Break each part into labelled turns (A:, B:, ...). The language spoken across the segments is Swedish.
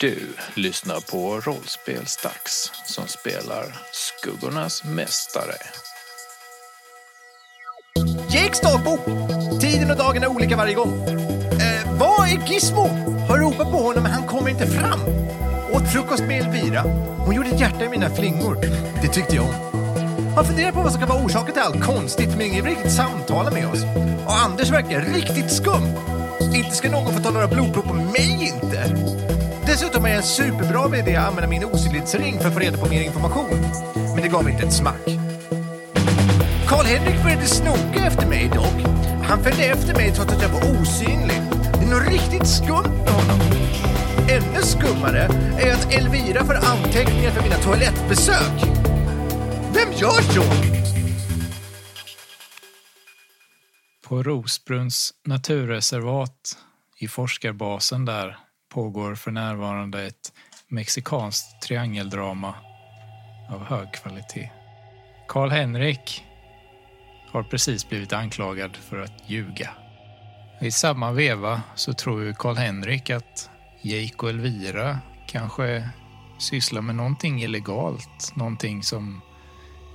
A: Du lyssnar på Rollspelsdags som spelar Skuggornas Mästare.
B: Jake Starbo! Tiden och dagen är olika varje gång. Eh, var är Gizmo? Har ropat på honom men han kommer inte fram. Åt frukost med Elvira. Hon gjorde ett hjärta i mina flingor. Det tyckte jag om. Har funderat på vad som kan vara orsaken till allt konstigt men ingen vill riktigt samtala med oss. Och Anders verkar riktigt skum. Inte ska någon få ta några blodprov på mig inte. Dessutom är det en superbra idé att använda min osynlighetsring för att få reda på mer information. Men det gav mig inte ett smack. Karl-Henrik började snoka efter mig dock. Han följde efter mig trots att jag var osynlig. Det är något riktigt skumt med honom. Ännu skummare är att Elvira får anteckningar för mina toalettbesök. Vem gör så?
C: På Rosbrunns naturreservat i forskarbasen där pågår för närvarande ett mexikanskt triangeldrama av hög kvalitet. Karl Henrik har precis blivit anklagad för att ljuga. I samma veva så tror ju Karl Henrik att Jake och Elvira kanske sysslar med någonting illegalt, någonting som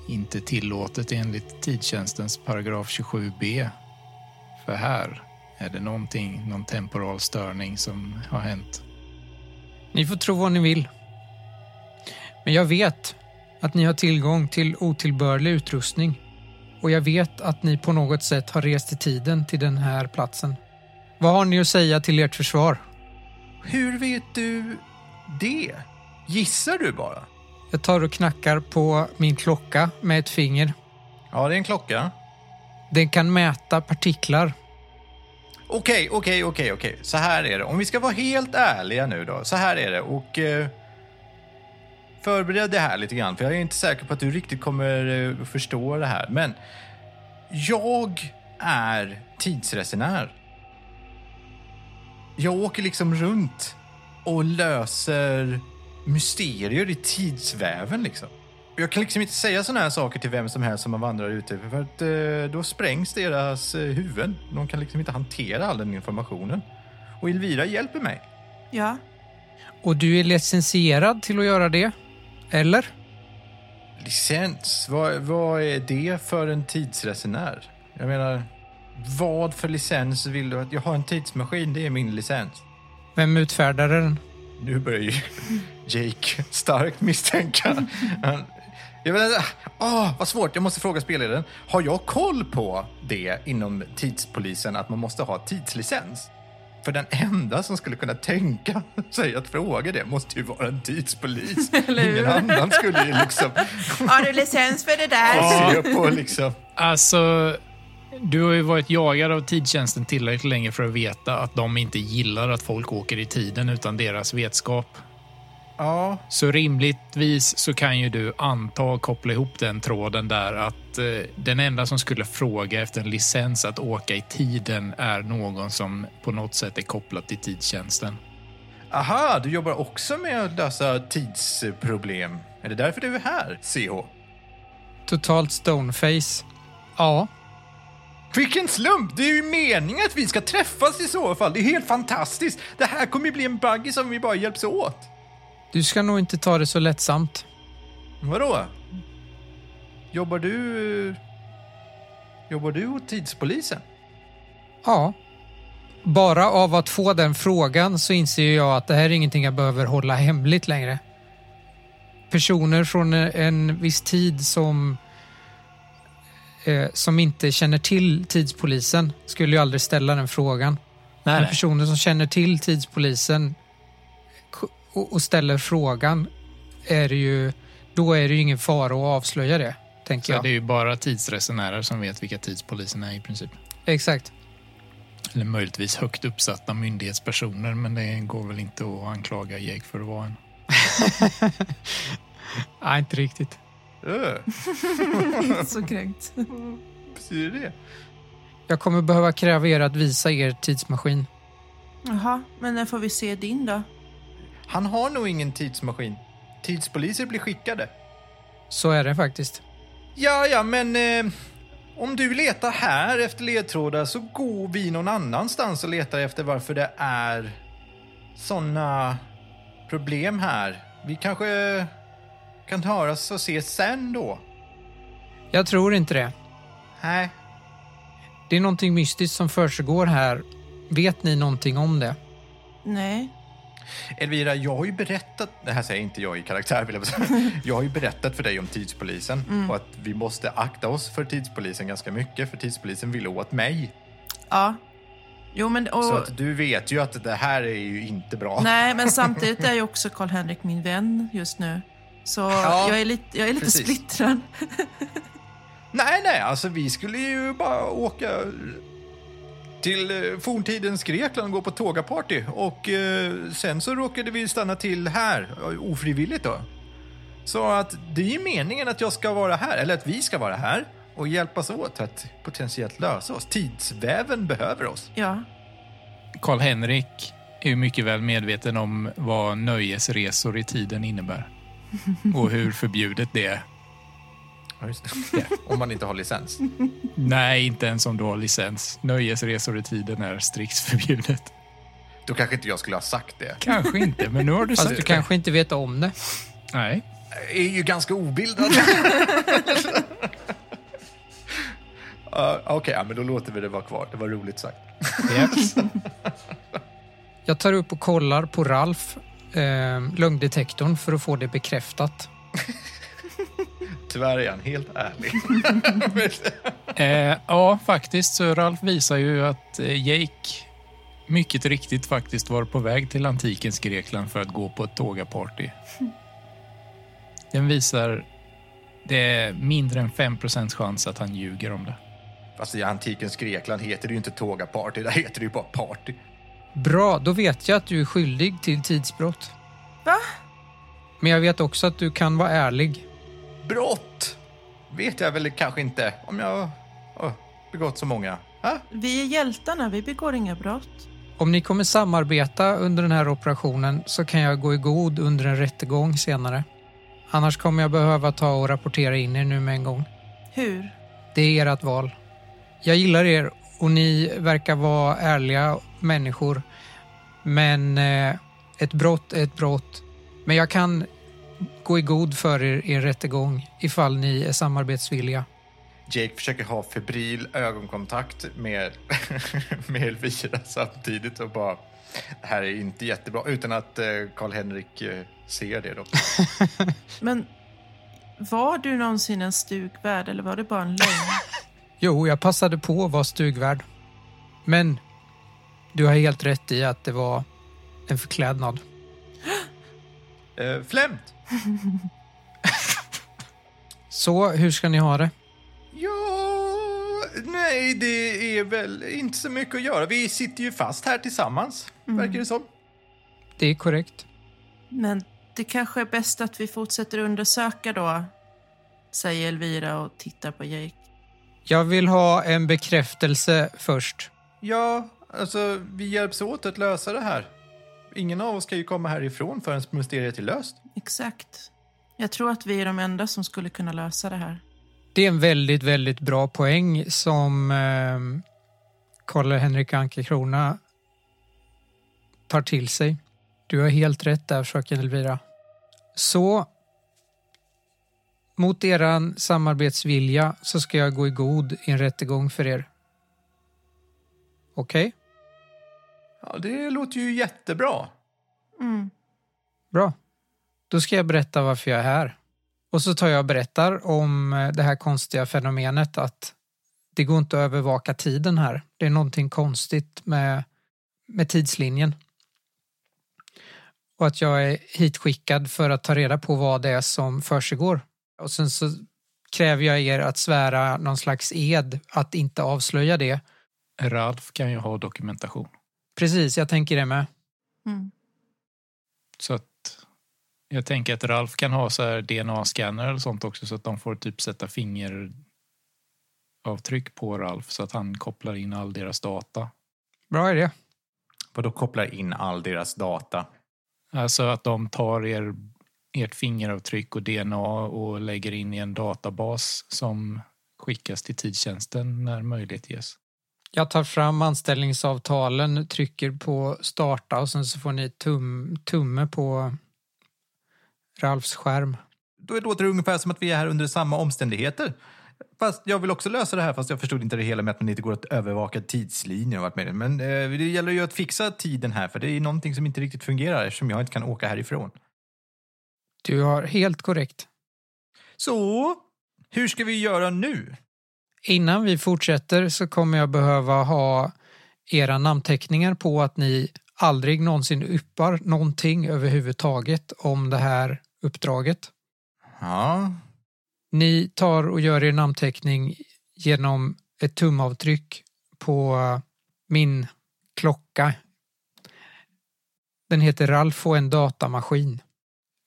C: inte tillåtet enligt tidtjänstens paragraf 27b. För här är det någonting, någon temporal störning som har hänt.
D: Ni får tro vad ni vill. Men jag vet att ni har tillgång till otillbörlig utrustning och jag vet att ni på något sätt har rest i tiden till den här platsen. Vad har ni att säga till ert försvar?
B: Hur vet du det? Gissar du bara?
D: Jag tar och knackar på min klocka med ett finger.
B: Ja, det är en klocka.
D: Den kan mäta partiklar.
B: Okej, okej, okej, okej. Så här är det. Om vi ska vara helt ärliga nu då. Så här är det. Och eh, förbered det här lite grann. För jag är inte säker på att du riktigt kommer eh, förstå det här. Men jag är tidsresenär. Jag åker liksom runt och löser mysterier i tidsväven liksom. Jag kan liksom inte säga sådana här saker till vem som helst som man vandrar ute för att eh, då sprängs deras eh, huvuden. De kan liksom inte hantera all den informationen. Och Elvira hjälper mig.
E: Ja.
D: Och du är licensierad till att göra det? Eller?
B: Licens, vad, vad är det för en tidsresenär? Jag menar, vad för licens vill du att... Jag har en tidsmaskin, det är min licens.
D: Vem utfärdade den?
B: Nu börjar ju Jake starkt misstänka. Han- Jag menar, åh, vad svårt. Jag måste fråga spelledaren. Har jag koll på det inom tidspolisen att man måste ha tidslicens? För den enda som skulle kunna tänka sig att fråga det måste ju vara en tidspolis. Ingen annan skulle ju liksom
E: Har du licens för det där?
B: se på liksom...
C: Alltså, du har ju varit jagad av tidtjänsten tillräckligt länge för att veta att de inte gillar att folk åker i tiden utan deras vetskap.
B: Ja,
C: Så rimligtvis så kan ju du anta och koppla ihop den tråden där att eh, den enda som skulle fråga efter en licens att åka i tiden är någon som på något sätt är kopplad till tidtjänsten.
B: aha, du jobbar också med att lösa tidsproblem. Är det därför du är här, CH?
D: Totalt stoneface. Ja,
B: Vilken slump! Det är ju meningen att vi ska träffas i så fall. Det är helt fantastiskt. Det här kommer ju bli en buggy som vi bara hjälps åt.
D: du ska nog inte ta det så lättsamt.
B: Vadå? Jobbar du... Jobbar du åt tidspolisen?
D: Ja. Bara av att få den frågan så inser ju jag att det här är ingenting jag behöver hålla hemligt längre. Personer från en viss tid som eh, som inte känner till tidspolisen skulle ju aldrig ställa den frågan.
C: Nej,
D: Men personer som känner till tidspolisen k- och, och ställer frågan är det ju, då är det ju ingen fara att avslöja det, tänker
C: Så det är
D: jag.
C: ju bara tidsresenärer som vet vilka tidspolisen är i princip.
D: Exakt.
C: Eller möjligtvis högt uppsatta myndighetspersoner, men det går väl inte att anklaga Jake för att vara en.
D: Nej, inte riktigt.
B: Öh,
E: Så kränkt.
B: betyder det?
D: Jag kommer behöva kräva er att visa er tidsmaskin.
E: Jaha, men när får vi se din då?
B: Han har nog ingen tidsmaskin. Tidspoliser blir skickade.
D: Så är det faktiskt.
B: Ja, ja, men... Eh, om du letar här efter ledtrådar så går vi någon annanstans och letar efter varför det är såna problem här. Vi kanske kan höras och ses sen då?
D: Jag tror inte det.
B: Nej.
D: Det är någonting mystiskt som försiggår här. Vet ni någonting om det?
E: Nej.
B: Elvira, jag har ju berättat, det här säger inte jag i karaktär vill jag bara säga. Jag har ju berättat för dig om tidspolisen
E: Mm.
B: och att vi måste akta oss för tidspolisen ganska mycket för tidspolisen vill åt mig.
E: Ja. Jo, men... Och,
B: Så att du vet ju att det här är ju inte bra.
E: Nej, men samtidigt är ju också Karl-Henrik min vän just nu. Så
B: Ja,
E: jag är lite, jag är lite
B: precis.
E: splittrad.
B: Nej, nej, alltså vi skulle ju bara åka till eh, forntidens Grekland och gå på tågaparty och eh, sen så råkade vi stanna till här, eh, ofrivilligt då. Så att det är ju meningen att jag ska vara här, eller att vi ska vara här och hjälpas åt att potentiellt lösa oss. Tidsväven behöver oss.
E: Ja.
C: Karl-Henrik är ju mycket väl medveten om vad nöjesresor i tiden innebär och hur förbjudet det är.
B: Ja, just det. Om man inte har licens.
C: Nej, inte ens om du har licens. Nöjesresor i tiden är strikt förbjudet.
B: Då kanske inte jag skulle ha sagt det.
C: Kanske inte, men nu har du
D: Fast
C: sagt
D: du
C: det.
D: kanske inte vet om det.
C: Nej.
B: Jag är ju ganska obildad. uh, Okej, ja, men då låter vi det vara kvar. Det var roligt sagt.
C: Yes.
D: Jag tar upp och kollar på Ralf, eh, lögndetektorn, för att få det bekräftat.
B: Tyvärr är han helt ärlig.
C: Eh, ja, faktiskt. Så Ralf visar ju att eh, Jake mycket riktigt faktiskt var på väg till antikens Grekland för att gå på ett tågaparty. Den visar det är mindre än 5 chans att han ljuger om det.
B: Fast i antikens Grekland heter det ju inte tågaparty, där heter det ju bara party.
D: Bra, då vet jag att du är skyldig till tidsbrott.
E: Va?
D: Men jag vet också att du kan vara ärlig.
B: Brott vet jag väl kanske inte om jag har begått så många. Ha?
E: Vi är hjältarna, vi begår inga brott.
D: Om ni kommer samarbeta under den här operationen så kan jag gå i god under en rättegång senare. Annars kommer jag behöva ta och rapportera in er nu med en gång.
E: Hur?
D: Det är ert val. Jag gillar er och ni verkar vara ärliga människor. Men eh, ett brott är ett brott. Men jag kan gå i god för er i en rättegång ifall ni är samarbetsvilliga.
B: Jake försöker ha febril ögonkontakt med, med Elvira samtidigt och bara det här är inte jättebra utan att eh, Karl-Henrik eh, ser det då.
E: Men var du någonsin en stugvärd eller var det bara en lögn?
D: Jo, jag passade på att vara stugvärd. Men du har helt rätt i att det var en förklädnad.
B: Eh, flämt!
D: Så hur ska ni ha det?
B: Ja, nej det är väl inte så mycket att göra. Vi sitter ju fast här tillsammans, verkar det som.
D: Det är korrekt.
E: Men det kanske är bäst att vi fortsätter undersöka då, säger Elvira och tittar på Jake.
D: Jag vill ha en bekräftelse först.
B: Ja, alltså vi hjälps åt att lösa det här. Ingen av oss kan ju komma härifrån förrän mysteriet är löst.
E: Exakt. Jag tror att vi är de enda som skulle kunna lösa det här.
D: Det är en väldigt, väldigt bra poäng som eh, Karl-Henrik Ankekrona tar till sig. Du har helt rätt där, fröken Elvira. Så mot eran samarbetsvilja så ska jag gå i god i en rättegång för er. Okej,
B: Ja, det låter ju jättebra.
E: Mm.
D: bra. Då ska jag berätta varför jag är här. Och så tar jag och berättar om eh, det här konstiga fenomenet att det går inte att övervaka tiden här. Det är någonting konstigt med, med tidslinjen. Och att jag är hitskickad för att ta reda på vad det är som försiggår. Och sen så kräver jag er att svära någon slags ed att inte avslöja det.
C: Ralf kan ju ha dokumentation.
D: Precis, jag tänker det med.
E: Mm.
C: Så att jag tänker att Ralf kan ha så här DNA-scanner eller sånt också så att de får typ sätta fingeravtryck på Ralf så att han kopplar in all deras data.
D: Bra idé.
B: Vadå kopplar in all deras data?
C: Alltså att de tar er, ert fingeravtryck och DNA och lägger in i en databas som skickas till tidtjänsten när möjlighet ges.
D: Jag tar fram anställningsavtalen, trycker på starta och sen så får ni tum, tumme på Ralfs skärm.
B: Då låter det ungefär som att vi är här under samma omständigheter. Fast jag vill också lösa det här, fast jag förstod inte det hela med att man inte går att övervaka tidslinjer och allt med det. Men eh, det gäller ju att fixa tiden här, för det är någonting som inte riktigt fungerar eftersom jag inte kan åka härifrån.
D: Du har helt korrekt.
B: Så, hur ska vi göra nu?
D: Innan vi fortsätter så kommer jag behöva ha era namnteckningar på att ni aldrig någonsin yppar någonting överhuvudtaget om det här uppdraget.
B: Ja,
D: Ni tar och gör er namnteckning genom ett tumavtryck på min klocka. Den heter Ralf och en datamaskin.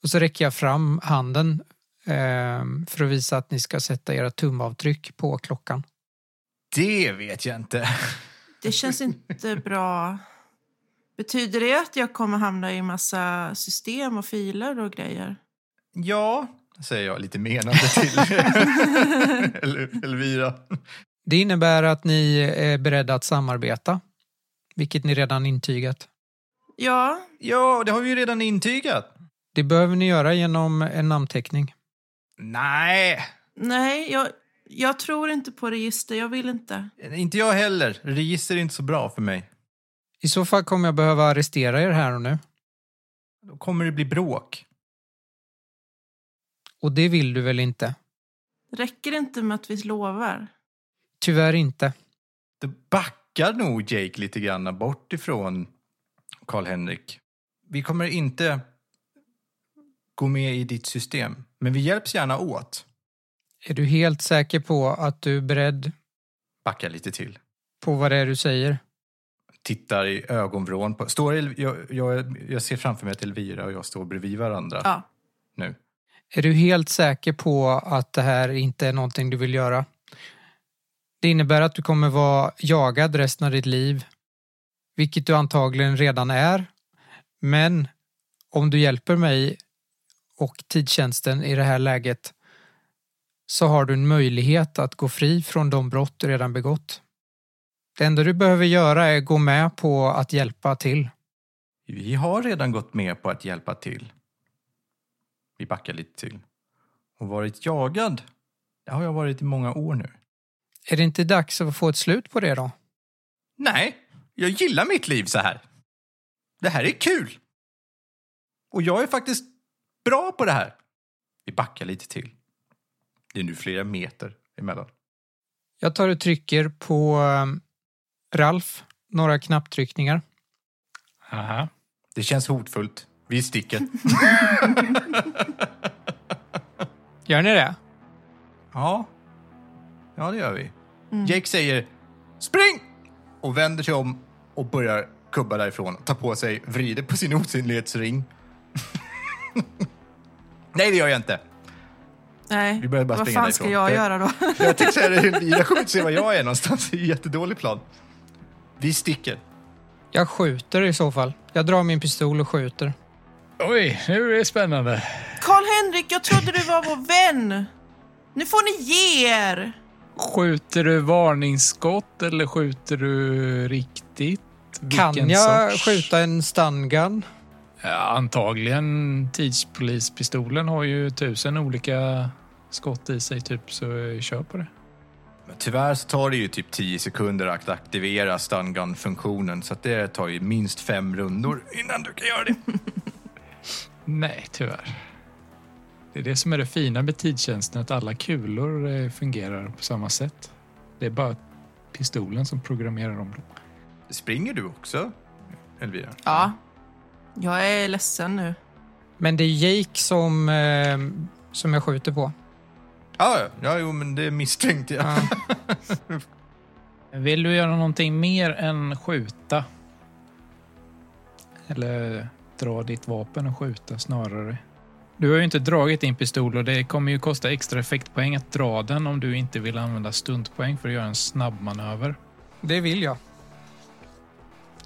D: Och så räcker jag fram handen eh, för att visa att ni ska sätta era tumavtryck på klockan.
B: det vet jag inte.
E: Det känns inte bra. Betyder det att jag kommer hamna i massa system och filer och grejer?
B: Ja, säger jag lite menande till El- Elvira.
D: Det innebär att ni eh, är beredda att samarbeta, vilket ni redan intygat.
E: Ja,
B: Ja, det har vi ju redan intygat.
D: Det behöver ni göra genom en namnteckning.
B: Nej,
E: nej, jag, jag tror inte på register. Jag vill inte.
B: inte jag heller. Register är inte så bra för mig.
D: I så fall kommer jag behöva arrestera er här och nu.
B: Då kommer det bli bråk.
D: Och det vill du väl inte?
E: Räcker det inte med att vi lovar?
D: Tyvärr inte.
B: Det backar nog Jake lite grann bort ifrån Karl-Henrik. Vi kommer inte gå med i ditt system, men vi hjälps gärna åt.
D: Är du helt säker på att du är beredd
B: Backar lite till.
D: på vad det är du säger?
B: Tittar i ögonvrån på... Står El, jag, jag, jag ser framför mig att Elvira och jag står bredvid varandra
E: Ja.
B: nu.
D: Är du helt säker på att det här inte är någonting du vill göra? Det innebär att du kommer vara jagad resten av ditt liv, vilket du antagligen redan är. Men om du hjälper mig och tidtjänsten i det här läget så har du en möjlighet att gå fri från de brott du redan begått. Det enda du behöver göra är gå med på att hjälpa till.
B: Vi har redan gått med på att hjälpa till. Vi backar lite till. Och varit jagad, det har jag varit i många år nu.
D: Är det inte dags att få ett slut på det då?
B: Nej, jag gillar mitt liv så här. Det här är kul. Och jag är faktiskt bra på det här. Vi backar lite till. Det är nu flera meter emellan.
D: Jag tar och trycker på ehm, Ralf, några knapptryckningar.
C: Aha.
B: Det känns hotfullt. Vi sticker.
D: Gör ni det?
B: ja. Ja, det gör vi. Jake säger spring! Och vänder sig om och börjar kubba därifrån. Tar på sig, vrider på sin osynlighetsring. Nej, det gör jag inte.
E: Nej,
B: Vi börjar bara
E: vad
B: springa
E: fan ska
B: därifrån.
E: jag
B: Det-
E: göra då?
B: Jag tänkte säga det, Elvira kommer inte se var jag är någonstans. Det är en jättedålig plan. Vi sticker.
D: Jag skjuter i så fall. Jag drar min pistol och skjuter.
C: Oj, nu är det spännande.
E: Karl-Henrik, jag trodde du var vår vän! Nu får ni ge er!
C: Skjuter du varningsskott eller skjuter du riktigt?
D: Kan
C: Vilken
D: jag
C: sorts-
D: skjuta en stungun?
C: Ja, antagligen. Tidspolispistolen har ju tusen olika skott i sig, typ, så eh, kör på det.
B: Men tyvärr så tar det ju typ 10 sekunder att aktivera stungun-funktionen så att det tar ju minst fem rundor innan du kan göra det.
C: Nej, tyvärr. Det är det som är det fina med tidtjänsten, att alla kulor eh, fungerar på samma sätt. Det är bara pistolen som programmerar om dem.
B: Springer du också, Elvira?
E: Ja, jag är ledsen nu.
D: Men det är Jake som, ehm, som jag skjuter på.
B: Ja, ja, ja, jo, men det misstänkte jag.
D: Ja.
C: Vill du göra någonting mer än skjuta? Eller dra ditt vapen och skjuta snarare? Du har ju inte dragit din pistol och det kommer ju kosta extra effektpoäng att dra den om du inte vill använda stuntpoäng för att göra en snabb manöver.
D: Det vill jag.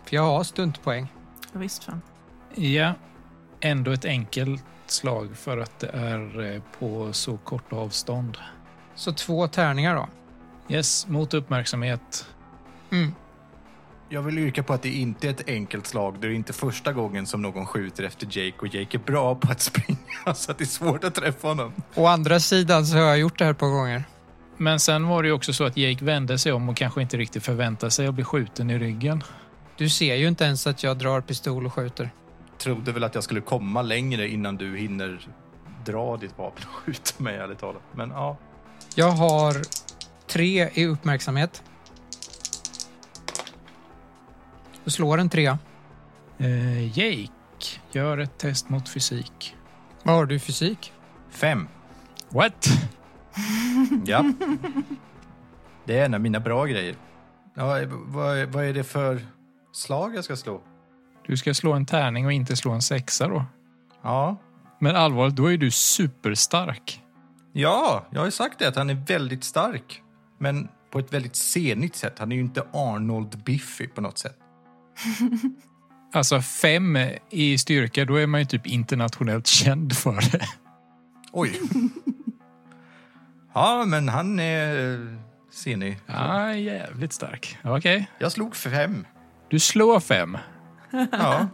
D: För jag har stuntpoäng.
E: Ja, Visst fan.
C: Ja, ändå ett enkelt slag för att det är eh, på så kort avstånd.
D: Så två tärningar då.
C: Yes, mot uppmärksamhet.
D: Mm.
B: Jag vill yrka på att det inte är ett enkelt slag. Det är inte första gången som någon skjuter efter Jake och Jake är bra på att springa så att det är svårt att träffa honom.
D: Å andra sidan så har jag gjort det här ett par gånger.
C: Men sen var det ju också så att Jake vände sig om och kanske inte riktigt förväntade sig att bli skjuten i ryggen.
D: Du ser ju inte ens att jag drar pistol och skjuter.
B: Trodde väl att jag skulle komma längre innan du hinner dra ditt vapen och skjuta mig ärligt talat. Men ja,
D: Jag har tre i uppmärksamhet. Du slår en trea.
C: Eh, Jake gör ett test mot fysik.
D: Vad har du i fysik?
B: fem.
C: What?
B: Ja. Det är en av mina bra grejer. Ja, vad, vad är det för slag jag ska slå?
C: Du ska slå en tärning och inte slå en sexa då.
B: Ja,
C: Men allvarligt, då är du superstark.
B: Ja, jag har ju sagt det att han är väldigt stark. Men på ett väldigt senigt sätt. Han är ju inte Arnold Biffy på något sätt.
C: Alltså fem i styrka, då är man ju typ internationellt känd för det.
B: Oj. ja, men han är eh, senig.
C: Ja, jävligt stark. Okej.
B: Jag slog fem.
C: Du slår fem.
B: Ja.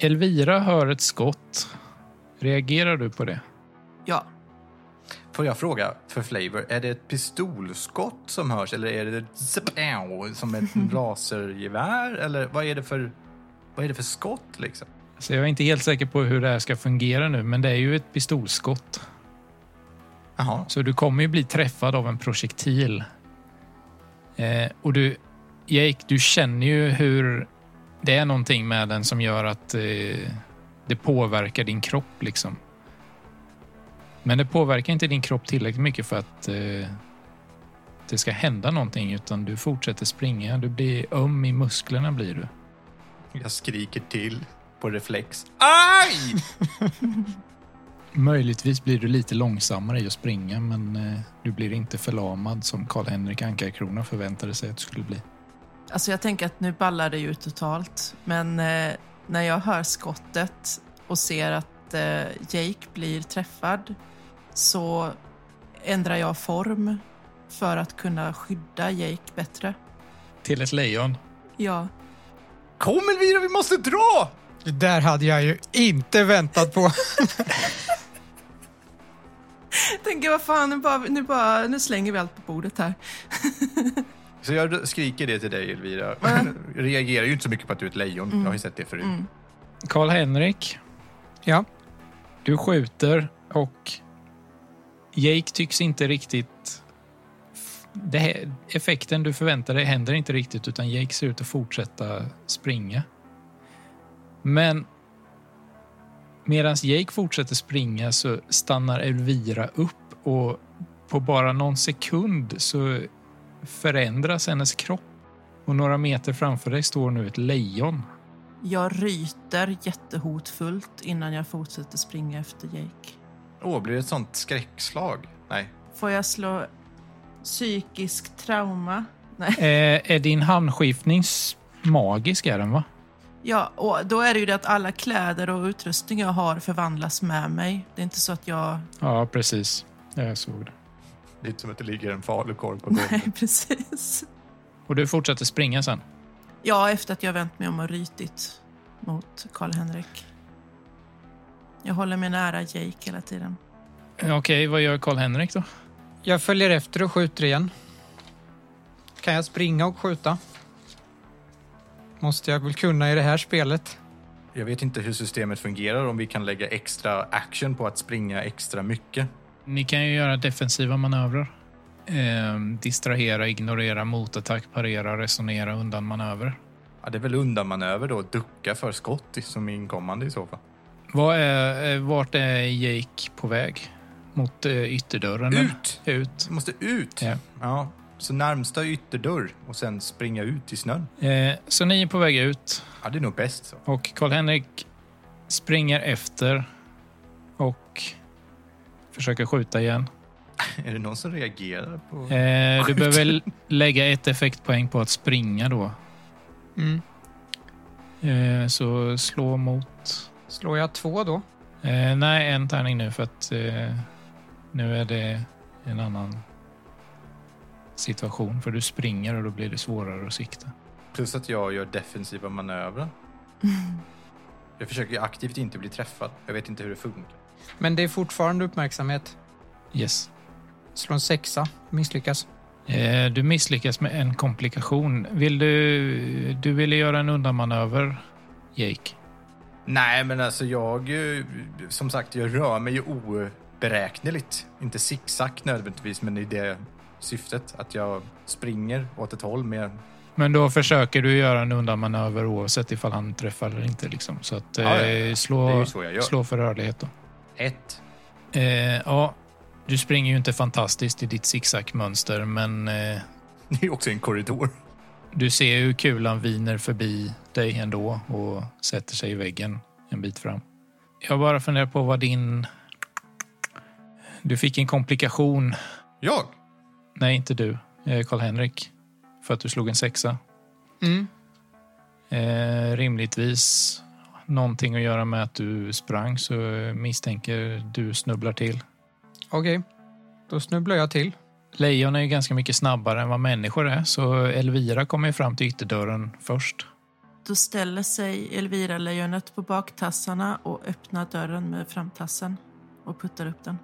C: Elvira hör ett skott. Reagerar du på det?
E: Ja.
B: Får jag fråga för flavor, är det ett pistolskott som hörs eller är det ett zip-ow, som ett lasergevär? Eller vad är det för, vad är det för skott liksom?
C: Så Alltså, jag är inte helt säker på hur det här ska fungera nu, men det är ju ett pistolskott.
B: Jaha.
C: Så du kommer ju bli träffad av en projektil. Eh, och du, Jake, du känner ju hur det är någonting med den som gör att eh, det påverkar din kropp liksom. Men det påverkar inte din kropp tillräckligt mycket för att eh, det ska hända någonting, utan du fortsätter springa. Du blir öm i musklerna blir du.
B: Jag skriker till på reflex. Aj!
C: Möjligtvis blir du lite långsammare i att springa, men eh, du blir inte förlamad som Karl-Henrik Ankarkrona förväntade sig att du skulle bli.
E: Alltså jag tänker att nu ballar det ju ut totalt. Men eh, när jag hör skottet och ser att eh, Jake blir träffad så ändrar jag form för att kunna skydda Jake bättre.
C: Till ett lejon.
E: Ja.
B: Kom Elvira, vi måste dra!
D: Det där hade jag ju inte väntat på.
E: Jag tänker vad fan, nu, bara, nu, bara, nu slänger vi allt på bordet här.
B: Så jag skriker det till dig, Elvira. Reagerar ju inte så mycket på att du är ett lejon. Jag har ju sett det förut.
C: Karl-Henrik,
D: Ja,
C: du skjuter och Jake tycks inte riktigt... Det här, effekten du förväntar dig händer inte riktigt utan Jake ser ut att fortsätta springa. Men medan Jake fortsätter springa så stannar Elvira upp och på bara någon sekund så förändras hennes kropp. Och några meter framför dig står nu ett lejon.
E: Jag ryter jättehotfullt innan jag fortsätter springa efter Jake.
B: Åh, blir det ett sånt skräckslag? Nej.
E: Får jag slå psykisk trauma? Nej.
C: Eh, är din handskiftning s- magisk är den va?
E: Ja, och då är det ju det att alla kläder och utrustning jag har förvandlas med mig. Det är inte så att jag...
C: Ja, precis. Jag såg det.
B: Det är inte som att det ligger en falukorv på golvet.
E: Nej, precis.
C: Och du fortsätter springa sen?
E: Ja, efter att jag vänt mig om och rytit mot Karl-Henrik. Jag håller mig nära Jake hela tiden.
C: Eh, Okej, vad gör Karl-Henrik då?
D: jag följer efter och skjuter igen. Kan jag springa och skjuta? Måste jag väl kunna i det här spelet.
B: Jag vet inte hur systemet fungerar, om vi kan lägga extra action på att springa extra mycket.
C: Ni kan ju göra defensiva manövrer. Ehm, distrahera, ignorera, motattack, parera, resonera, undan manöver.
B: Ja, det är väl undanmanöver då, ducka för skott i- som är inkommande i så fall.
C: Vad är, eh, vart är Jake på väg? Mot eh, ytterdörren? eller?
B: Ut!
C: Ut.
B: Vi måste ut!
C: Ja.
B: Ja, så närmsta ytterdörr och sen springa ut i snön.
C: Eh, så ni är på väg ut.
B: Ja, det är nog bäst så.
C: Och Karl-Henrik springer efter och försöker skjuta igen.
B: Är det någon som reagerar på...
C: Eh, du
B: Skjut.
C: behöver l- lägga ett effektpoäng på att springa då.
D: Mm.
C: Eh, så slå mot...
D: Slår jag två då?
C: Eh, nej, en tärning nu för att eh, nu är det en annan situation. För du springer och då blir det svårare att sikta.
B: Plus att jag gör defensiva manövrer. Jag försöker ju aktivt inte bli träffad. Jag vet inte hur det funkar.
D: Men det är fortfarande uppmärksamhet.
C: Yes.
D: Slå en sexa, misslyckas.
C: Eh, Du misslyckas med en komplikation. Vill du... Du ville göra en undanmanöver, Jake.
B: Nej, men alltså jag... eh, Som sagt, jag rör mig ju oberäkneligt. Inte zigzag nödvändigtvis, men i det syftet. Att jag springer åt ett håll. Men jag,
C: Men då försöker du göra en undanmanöver oavsett ifall han träffar eller inte. Liksom. Så att,
B: Ja, ja,
C: eh,
B: ja.
C: Slå,
B: Det är ju så jag gör.
C: slå för rörlighet då.
B: ett.
C: Eh, ja, du springer ju inte fantastiskt i ditt zigzagmönster, men eh,
B: Det är ju också en korridor.
C: du ser hur kulan viner förbi dig ändå och sätter sig i väggen en bit fram. Jag bara funderar på vad din... Du fick en komplikation.
B: Jag?
C: Nej, inte du. eh, Karl-Henrik. För att du slog en sexa.
D: Mm.
C: Eh, rimligtvis någonting att göra med att du sprang så eh, misstänker du snubblar till.
D: Okej, då snubblar jag till.
C: Lejon är ju ganska mycket snabbare än vad människor är så Elvira kommer ju fram till ytterdörren först.
E: Då ställer sig Elvira-lejonet på baktassarna och öppnar dörren med framtassen och puttar upp den.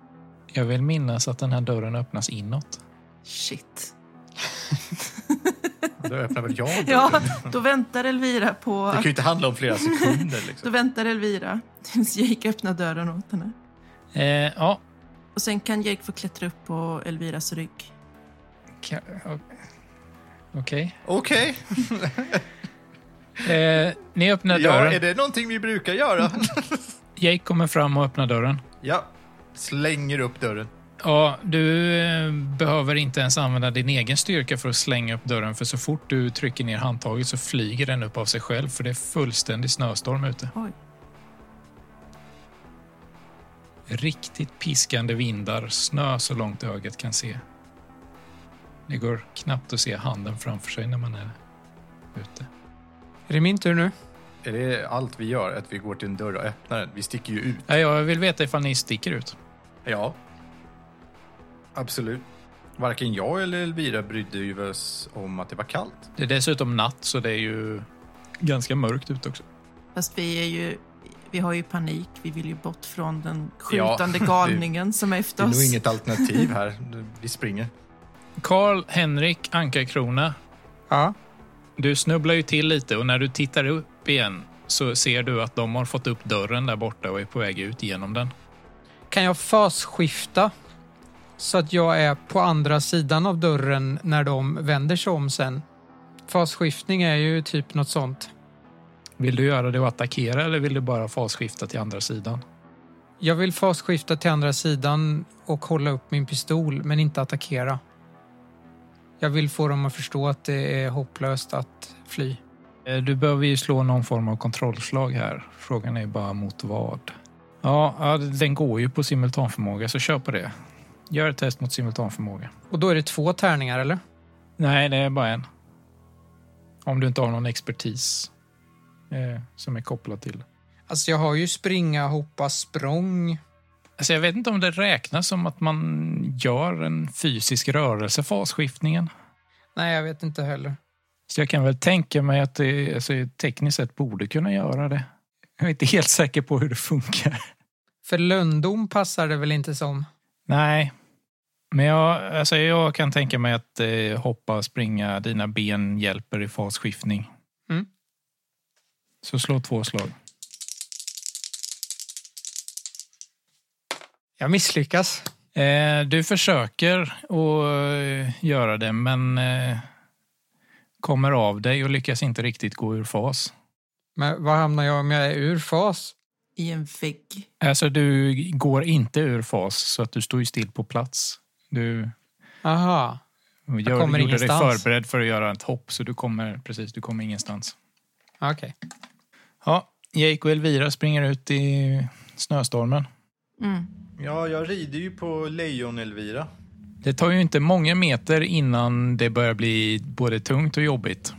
C: Jag vill minnas att den här dörren öppnas inåt.
E: Shit.
B: Då öppnar väl jag dörren.
E: Ja, då väntar Elvira på...
B: Det kan ju inte handla om flera sekunder.
E: Då
B: Liksom.
E: väntar Elvira tills Jake öppnar dörren åt henne.
C: Eh, ja,
E: Och sen kan Jake få klättra upp på Elviras rygg.
C: ka- o- okej.
B: Okej,
C: Eh, ni öppnar
B: ja,
C: dörren.
B: är det någonting vi brukar göra?
C: Jake kommer fram och öppnar dörren.
B: ja, slänger upp dörren.
C: Ja, du eh, behöver inte ens använda din egen styrka för att slänga upp dörren för så fort du trycker ner handtaget så flyger den upp av sig själv för det är fullständig snöstorm ute.
E: Oj.
C: Riktigt piskande vindar, snö så långt ögat kan se. Det går knappt att se handen framför sig när man är ute.
D: Är det min tur nu?
B: Är det allt vi gör? Att vi går till en dörr och öppnar den? Vi sticker ju ut.
C: Ja, Jag vill veta ifall ni sticker ut.
B: Ja. Absolut. Varken jag eller Elvira brydde ju oss om att det var kallt.
C: Det är dessutom natt så det är ju ganska mörkt ute också.
E: Fast vi är ju... Vi har ju panik. Vi vill ju bort från den skjutande galningen som är
B: Det
E: efter
B: är
E: oss.
B: nog inget alternativ här. Vi springer.
C: Karl Henrik Ankarkrona
D: Ja.
C: Du snubblar ju till lite och när du tittar upp igen så ser du att de har fått upp dörren där borta och är på väg ut genom den.
D: Kan jag fasskifta så att jag är på andra sidan av dörren när de vänder sig om sen? Fasskiftning är ju typ något sånt.
C: Vill du göra det och attackera eller vill du bara fasskifta till andra sidan?
D: Jag vill fasskifta till andra sidan och hålla upp min pistol, men inte attackera. Jag vill få dem att förstå att det är hopplöst att fly.
C: Eh, Du behöver ju slå någon form av kontrollslag här. Frågan är bara mot vad. Ja, ja, den går ju på simultanförmåga så kör på det. Gör ett test mot simultanförmåga.
D: Och då är det två tärningar, eller?
C: Nej, det är bara en. Om du inte har någon expertis eh, som är kopplad till
D: Alltså jag har ju springa, hoppa, språng.
C: Alltså jag vet inte om det räknas som att man gör en fysisk rörelse, fasskiftningen.
D: Nej, jag vet inte heller.
C: Så jag kan väl tänka mig att det alltså, tekniskt sett borde kunna göra det. Jag är inte helt säker på hur det funkar.
D: För lönndom passar det väl inte som?
C: Nej, men jag, alltså jag kan tänka mig att eh, hoppa, springa, dina ben hjälper i fasskiftning.
D: Mm.
C: Så slå två slag.
D: Jag misslyckas.
C: Eh, du försöker att eh, göra det, men eh, kommer av dig och lyckas inte riktigt gå ur fas.
D: Men var hamnar jag om jag är ur fas?
E: I en vägg.
C: Alltså, du går inte ur fas, så att du står ju still på plats. Du
D: Aha.
C: gör,
D: kommer
C: gjorde dig
D: ingenstans.
C: förberedd för att göra ett hopp, så du kommer, precis, du kommer ingenstans.
D: Okej.
C: Ja, Jake och Elvira springer ut i snöstormen.
E: Mm.
B: Ja, jag rider ju på lejon Elvira.
C: Det tar ju inte många meter innan det börjar bli både tungt och jobbigt.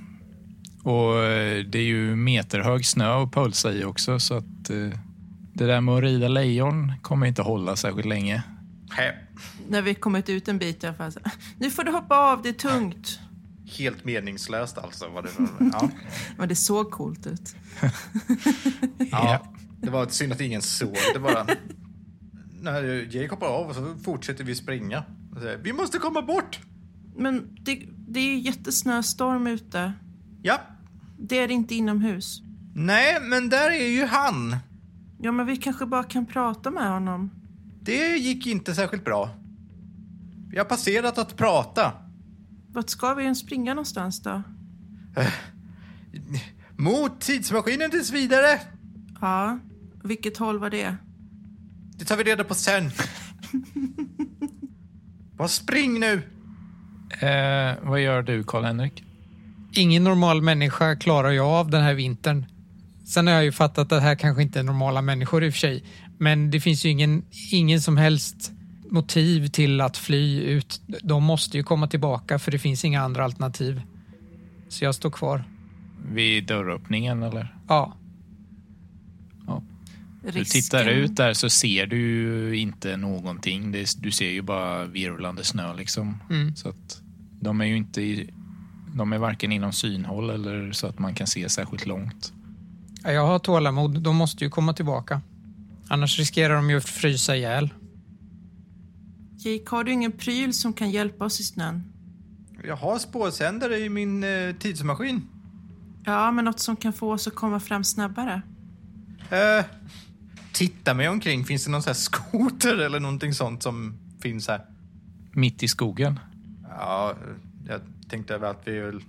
C: Och eh, det är ju meterhög snö att pulsa i också så att eh, det där med att rida lejon kommer inte hålla särskilt länge.
B: Hä.
E: När vi kommit ut en bit i alla fall. så- Nu får du hoppa av, det är tungt.
B: Helt meningslöst alltså. Vad det, ja.
E: Men det såg coolt ut.
B: Ja, det var ett synd att ingen såg det bara. När Jake hoppar av och så fortsätter vi springa. Och säger, Vi måste komma bort!
E: Men det, det är ju jättesnöstorm ute.
B: Ja.
E: Det är det inte inomhus.
B: Nej, men där är ju han.
E: Ja, men vi kanske bara kan prata med honom.
B: Det gick inte särskilt bra. Vi har passerat att prata.
E: Vart ska vi ens springa någonstans då?
B: Mot tidsmaskinen tills vidare.
E: Ja, vilket håll var det?
B: Det tar vi reda på sen. Bara spring nu!
C: Eh, vad gör du, Karl-Henrik?
D: Ingen normal människa klarar jag av den här vintern. Sen har jag ju fattat att det här kanske inte är normala människor i och för sig. Men det finns ju ingen, ingen som helst motiv till att fly ut. De måste ju komma tillbaka för det finns inga andra alternativ. Så jag står kvar.
C: Vid dörröppningen, eller?
D: Ja,
E: Risken.
C: Du tittar ut där så ser du ju inte någonting. Det, du ser ju bara virvlande snö liksom.
D: Mm.
C: Så att de är ju inte i, de är varken inom synhåll eller så att man kan se särskilt långt.
D: Ja, jag har tålamod. De måste ju komma tillbaka. Annars riskerar de ju att frysa ihjäl.
E: Jake, har du ingen pryl som kan hjälpa oss i snön?
B: Jag har spårsändare i min eh, tidsmaskin.
E: Ja, men något som kan få oss att komma fram snabbare.
B: Eh, titta mig omkring. Finns det någon sån här skoter eller någonting sånt som finns här?
C: Mitt i skogen.
B: Ja, jag tänkte väl att vi... väl-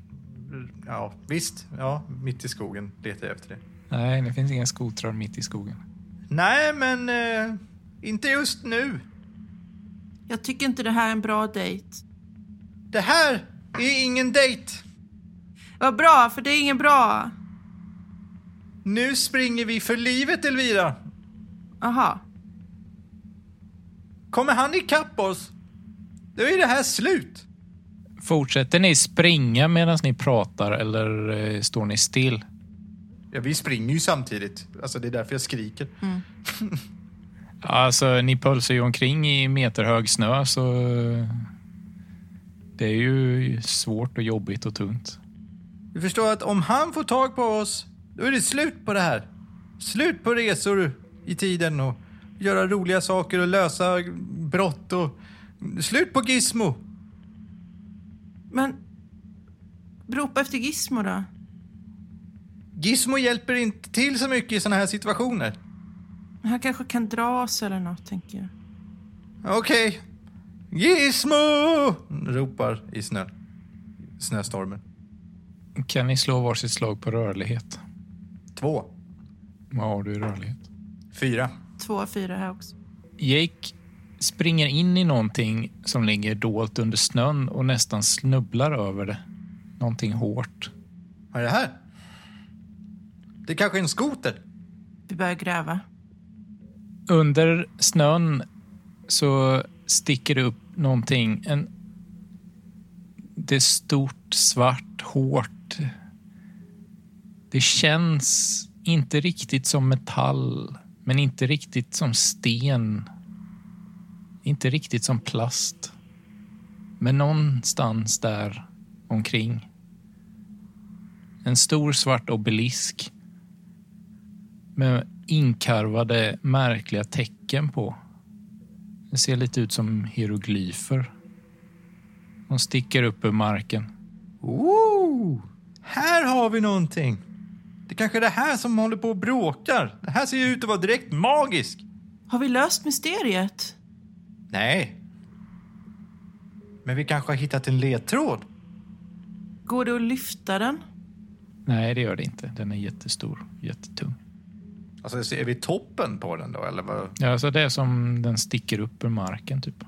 B: Ja, visst. Ja, mitt i skogen letar jag efter det.
C: Nej, det finns inga skotrar mitt i skogen.
B: Nej, men eh, inte just nu.
E: Jag tycker inte det här är en bra dejt.
B: Det här är ingen dejt.
E: Vad bra, för det är ingen bra.
B: Nu springer vi för livet, Elvira.
E: Aha.
B: Kommer han ikapp oss, då är det här slut.
C: Fortsätter ni springa medan ni pratar eller eh, står ni still?
B: Ja, vi springer ju samtidigt. Alltså, det är därför jag skriker.
C: Alltså, ni pölsar ju omkring i meterhög snö så eh, det är ju svårt och jobbigt och tungt.
B: Du förstår att om han får tag på oss, då är det slut på det här. Slut på resor i tiden och göra roliga saker och lösa brott och slut på Gizmo.
E: Men... Ropa efter Gizmo då.
B: Gizmo hjälper inte till så mycket i såna här situationer.
E: Han kanske kan dra oss eller något, tänker jag.
B: Okej. Gizmo! Ropar i snö. snöstormen.
C: Kan ni slå varsitt slag på rörlighet?
B: Två.
C: Vad har du i rörlighet?
B: Fyra.
E: Två av fyra här också.
C: Jake springer in i någonting som ligger dolt under snön och nästan snubblar över det. Någonting hårt.
B: Vad är det här? Det är kanske är en skoter?
E: Vi börjar gräva.
C: Under snön så sticker det upp någonting. En, det är stort, svart, hårt. Det känns inte riktigt som metall, men inte riktigt som sten. Inte riktigt som plast. Men någonstans där omkring. En stor svart obelisk med inkarvade märkliga tecken på. Det ser lite ut som hieroglyfer. De sticker upp ur marken.
B: Ooh, här har vi någonting. Det kanske är det här som håller på och bråkar. Det här ser ju ut att vara direkt magisk.
E: Har vi löst mysteriet?
B: Nej. Men vi kanske har hittat en ledtråd.
E: Går det att lyfta den?
C: Nej, det gör det inte. Den är jättestor, jättetung.
B: Alltså, är vi toppen på den då? Eller vad?
C: Ja, Alltså det är som den sticker upp ur marken, typ.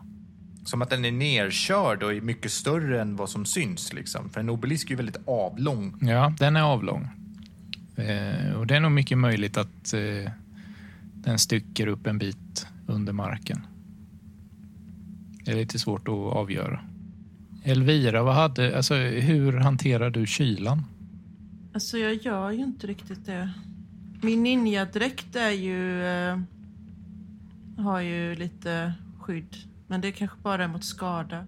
B: Som att den är nerkörd och är mycket större än vad som syns. Liksom. För en obelisk är ju väldigt avlång.
C: Ja, den är avlång. Eh, och det är nog mycket möjligt att eh, den sticker upp en bit under marken. Det är lite svårt att avgöra. Elvira, vad hade, alltså, hur hanterar du kylan?
E: Alltså, jag gör ju inte riktigt det. Min ninjadräkt är ju... Eh, har ju lite skydd. Men det kanske bara är mot skada.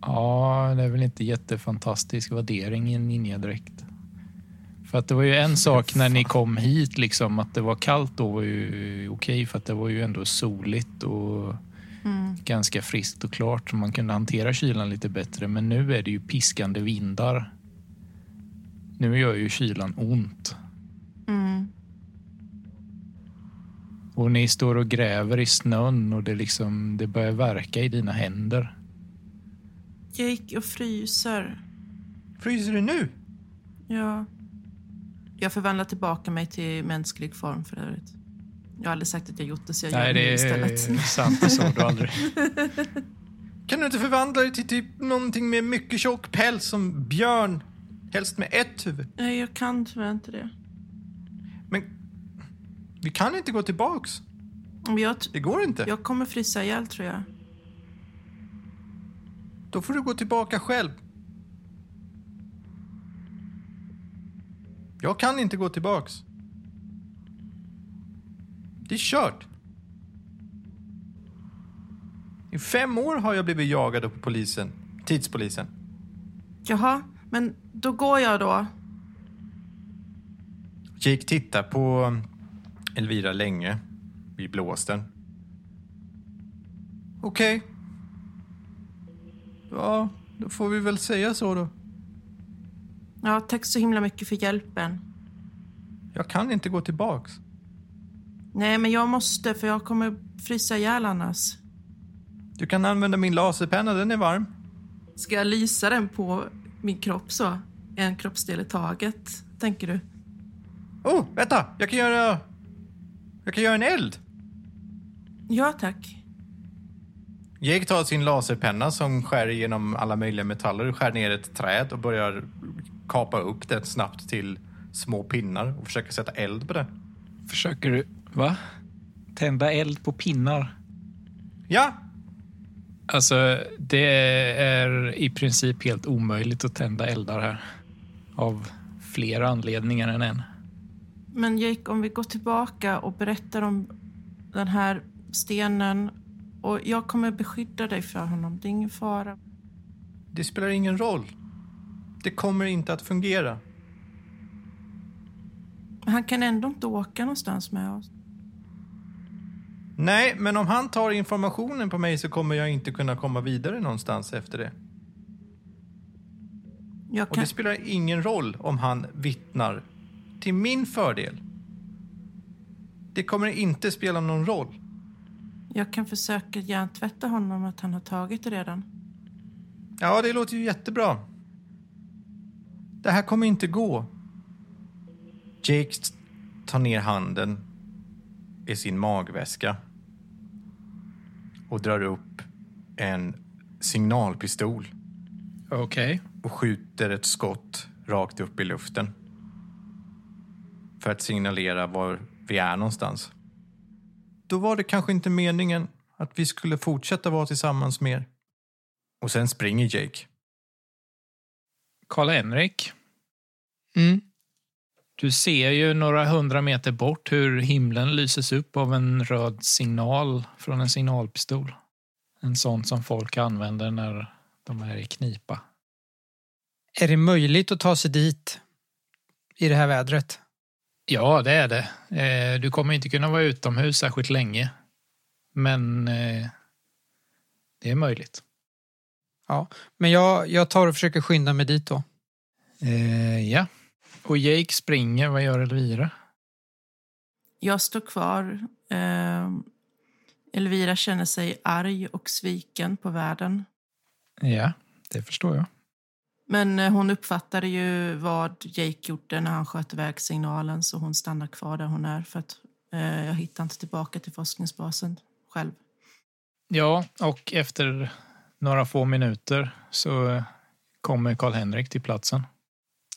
C: Ja, det är väl inte jättefantastisk värdering i en ninjadräkt. För att det var ju en sak när ni kom hit, liksom, att det var kallt då var ju okej för att det var ju ändå soligt och Mm, ganska friskt och klart. så Man kunde hantera kylan lite bättre, men nu är det ju piskande vindar. Nu gör ju kylan ont.
E: Mm.
C: Och ni står och gräver i snön och det, liksom, det börjar verka i dina händer.
E: Jake, jag fryser.
B: Fryser du nu?
E: Ja. Jag förvandlar tillbaka mig till mänsklig form för övrigt. Jag har aldrig sagt att jag gjort det, så jag gör
C: Nej,
E: det
C: det
E: nu
C: är
E: istället.
C: sant. Det sa du aldrig.
B: Kan du inte förvandla dig till typ någonting med mycket tjock päls som björn? Helst med ett huvud.
E: Nej, jag kan tyvärr inte det.
B: Men vi kan inte gå tillbaks.
E: Men Jag, t-
B: Det går inte.
E: jag kommer frysa ihjäl, tror jag.
B: Då får du gå tillbaka själv. Jag kan inte gå tillbaks. Det är kört. I fem år har jag blivit jagad av polisen. Tidspolisen.
E: Jaha, men då går jag då.
B: Jake tittar på um, Elvira länge i blåsten. Okej. Ja, då får vi väl säga så då.
E: Ja, tack så himla mycket för hjälpen.
B: Jag kan inte gå tillbaks.
E: Nej, men jag måste, för jag kommer frysa ihjäl annars.
B: Du kan använda min laserpenna, den är varm.
E: Ska jag lysa den på min kropp så? En kroppsdel i taget, tänker du?
B: Oh, vänta! Jag kan göra... Jag kan göra en eld!
E: Ja, tack.
B: Jake tar sin laserpenna som skär genom alla möjliga metaller och skär ner ett träd och börjar kapa upp det snabbt till små pinnar och försöker sätta eld på det.
C: Försöker du... Va? Tända eld på pinnar?
B: Ja!
C: Alltså, det är i princip helt omöjligt att tända eldar här. Av flera anledningar än en.
E: Men Jake, om vi går tillbaka och berättar om den här stenen och jag kommer beskydda dig från honom, det är ingen fara.
B: Det spelar ingen roll. Det kommer inte att fungera.
E: Men han kan ändå inte åka någonstans med oss.
B: Nej, men om han tar informationen på mig så kommer jag inte kunna komma vidare någonstans efter det.
E: Jag
B: Och
E: kan...
B: det spelar ingen roll om han vittnar till min fördel. Det kommer inte spela någon roll.
E: Jag kan försöka hjärntvätta honom att han har tagit det redan.
B: Ja, det låter ju jättebra. Det här kommer inte gå. Jake tar ner handen i sin magväska och drar upp en signalpistol
C: Okej.
B: och skjuter ett skott rakt upp i luften för att signalera var vi är någonstans. Då var det kanske inte meningen att vi skulle fortsätta vara tillsammans mer. Och sen springer Jake.
C: Karl-Henrik,
D: Mm.
C: du ser ju några hundra meter bort hur himlen lyses upp av en röd signal från en signalpistol. En sån som folk använder när de är i knipa.
D: Är det möjligt att ta sig dit i det här vädret?
C: Ja, det är det. Eh, Du kommer inte kunna vara utomhus särskilt länge. Men eh, det är möjligt.
D: Men jag, jag tar och försöker skynda mig dit då.
C: Eh, Ja. Och Jake springer. Vad gör Elvira?
E: Jag står kvar. Ehm, Elvira känner sig arg och sviken på världen.
C: Ja, det förstår jag.
E: Men eh, hon uppfattade ju vad Jake gjorde när han sköt iväg signalen så hon stannar kvar där hon är för att eh, jag hittar inte tillbaka till forskningsbasen själv.
C: Ja, och efter några få minuter så eh, kommer Karl-Henrik till platsen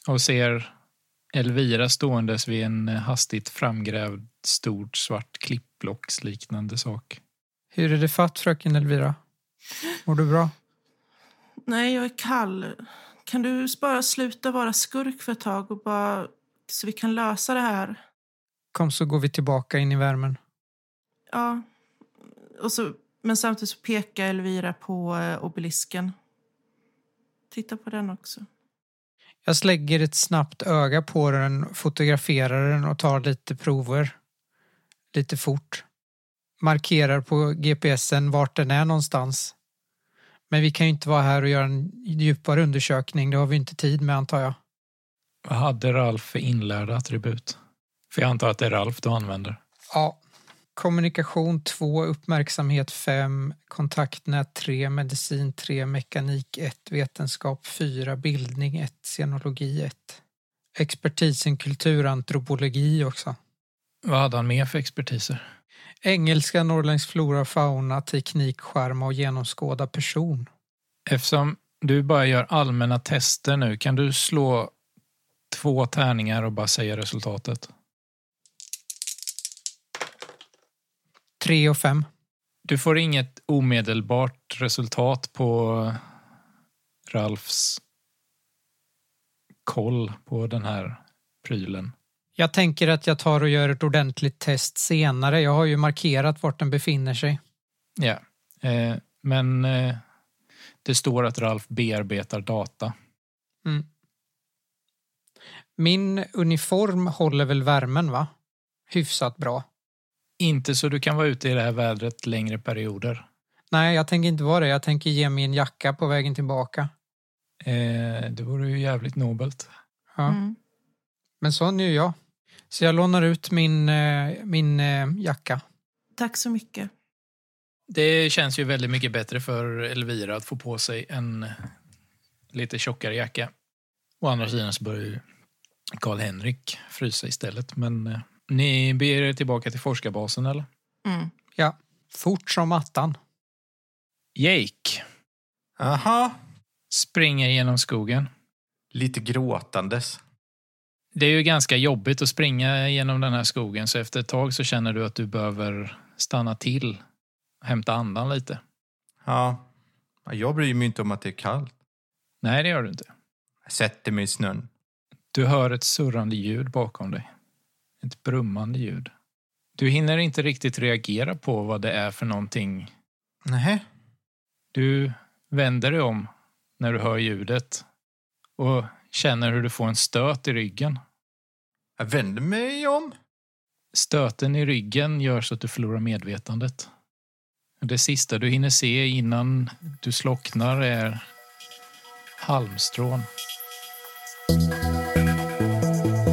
C: och ser Elvira ståendes vid en eh, hastigt framgrävd stor svart klippblocksliknande sak.
D: Hur är det fatt fröken Elvira? Mår du bra?
E: Nej, jag är kall. Kan du bara sluta vara skurk för ett tag och bara så vi kan lösa det här?
D: Kom så går vi tillbaka in i värmen.
E: Ja. Och så, men samtidigt så pekar Elvira på eh, obelisken titta på den också.
D: Jag slägger ett snabbt öga på den, fotograferar den och tar lite prover. Lite fort. Markerar på GPSen vart den är någonstans. Men vi kan ju inte vara här och göra en djupare undersökning. Det har vi inte tid med antar jag.
C: Vad hade Ralf för inlärda attribut? För jag antar att det är Ralf du använder.
D: Ja. Kommunikation 2, uppmärksamhet 5, kontaktnät 3, medicin 3, mekanik 1, vetenskap 4, bildning 1, scenologi 1. Expertisen kulturantropologi också.
C: Vad hade han mer för expertiser?
D: Engelska, norrländsk flora, fauna, teknik, skärma och genomskåda person.
C: Eftersom du bara gör allmänna tester nu, kan du slå två tärningar och bara säga resultatet?
D: 3 och 5.
C: Du får inget omedelbart resultat på Ralfs koll på den här prylen.
D: Jag tänker att jag tar och gör ett ordentligt test senare. Jag har ju markerat vart den befinner sig.
C: Ja, eh, men eh, det står att Ralf bearbetar data.
D: Min uniform håller väl värmen va? Hyfsat bra.
C: Inte så du kan vara ute i det här vädret längre perioder.
D: Nej, jag tänker inte vara det. Jag tänker ge mig en jacka på vägen tillbaka.
C: Eh, det vore ju jävligt nobelt.
D: Ja.
E: Mm.
D: Men sån är ju jag. Så jag lånar ut min, eh, min eh, jacka.
E: Tack så mycket.
C: Det känns ju väldigt mycket bättre för Elvira att få på sig en lite tjockare jacka. Å andra sidan så börjar ju Karl-Henrik frysa istället. Men eh, ni beger er tillbaka till forskarbasen eller?
E: Mm.
D: Ja, fort som attan.
C: Jake
F: Aha.
C: springer genom skogen.
F: Lite gråtandes.
C: Det är ju ganska jobbigt att springa genom den här skogen så efter ett tag så känner du att du behöver stanna till, hämta andan lite.
F: Ja. Jag bryr mig inte om att det är kallt.
C: Nej, det gör du inte.
F: Jag sätter mig i snön.
C: Du hör ett surrande ljud bakom dig. Ett brummande ljud. Du hinner inte riktigt reagera på vad det är för någonting.
F: Nej.
C: Du vänder dig om när du hör ljudet och känner hur du får en stöt i ryggen.
F: Jag vänder mig om.
C: Stöten i ryggen gör så att du förlorar medvetandet. Det sista du hinner se innan du slocknar är halmstrån.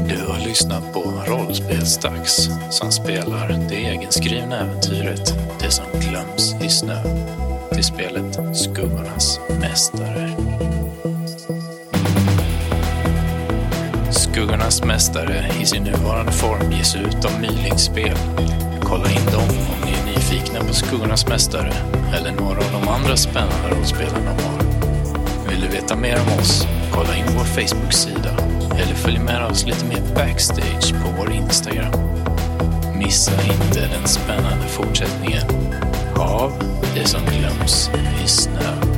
A: Du har lyssnat på Rollspelsdags som spelar det egenskrivna äventyret Det som glöms i snö till spelet Skuggornas mästare. Skuggornas mästare i sin nuvarande form ges ut av Mylings spel. Kolla in dem om ni är nyfikna på Skuggornas mästare eller några av de andra spännande rollspelen de har. Vill du veta mer om oss? Kolla in vår Facebook-sida eller följ med oss lite mer backstage på vår Instagram. Missa inte den spännande fortsättningen av Det som glöms i snö.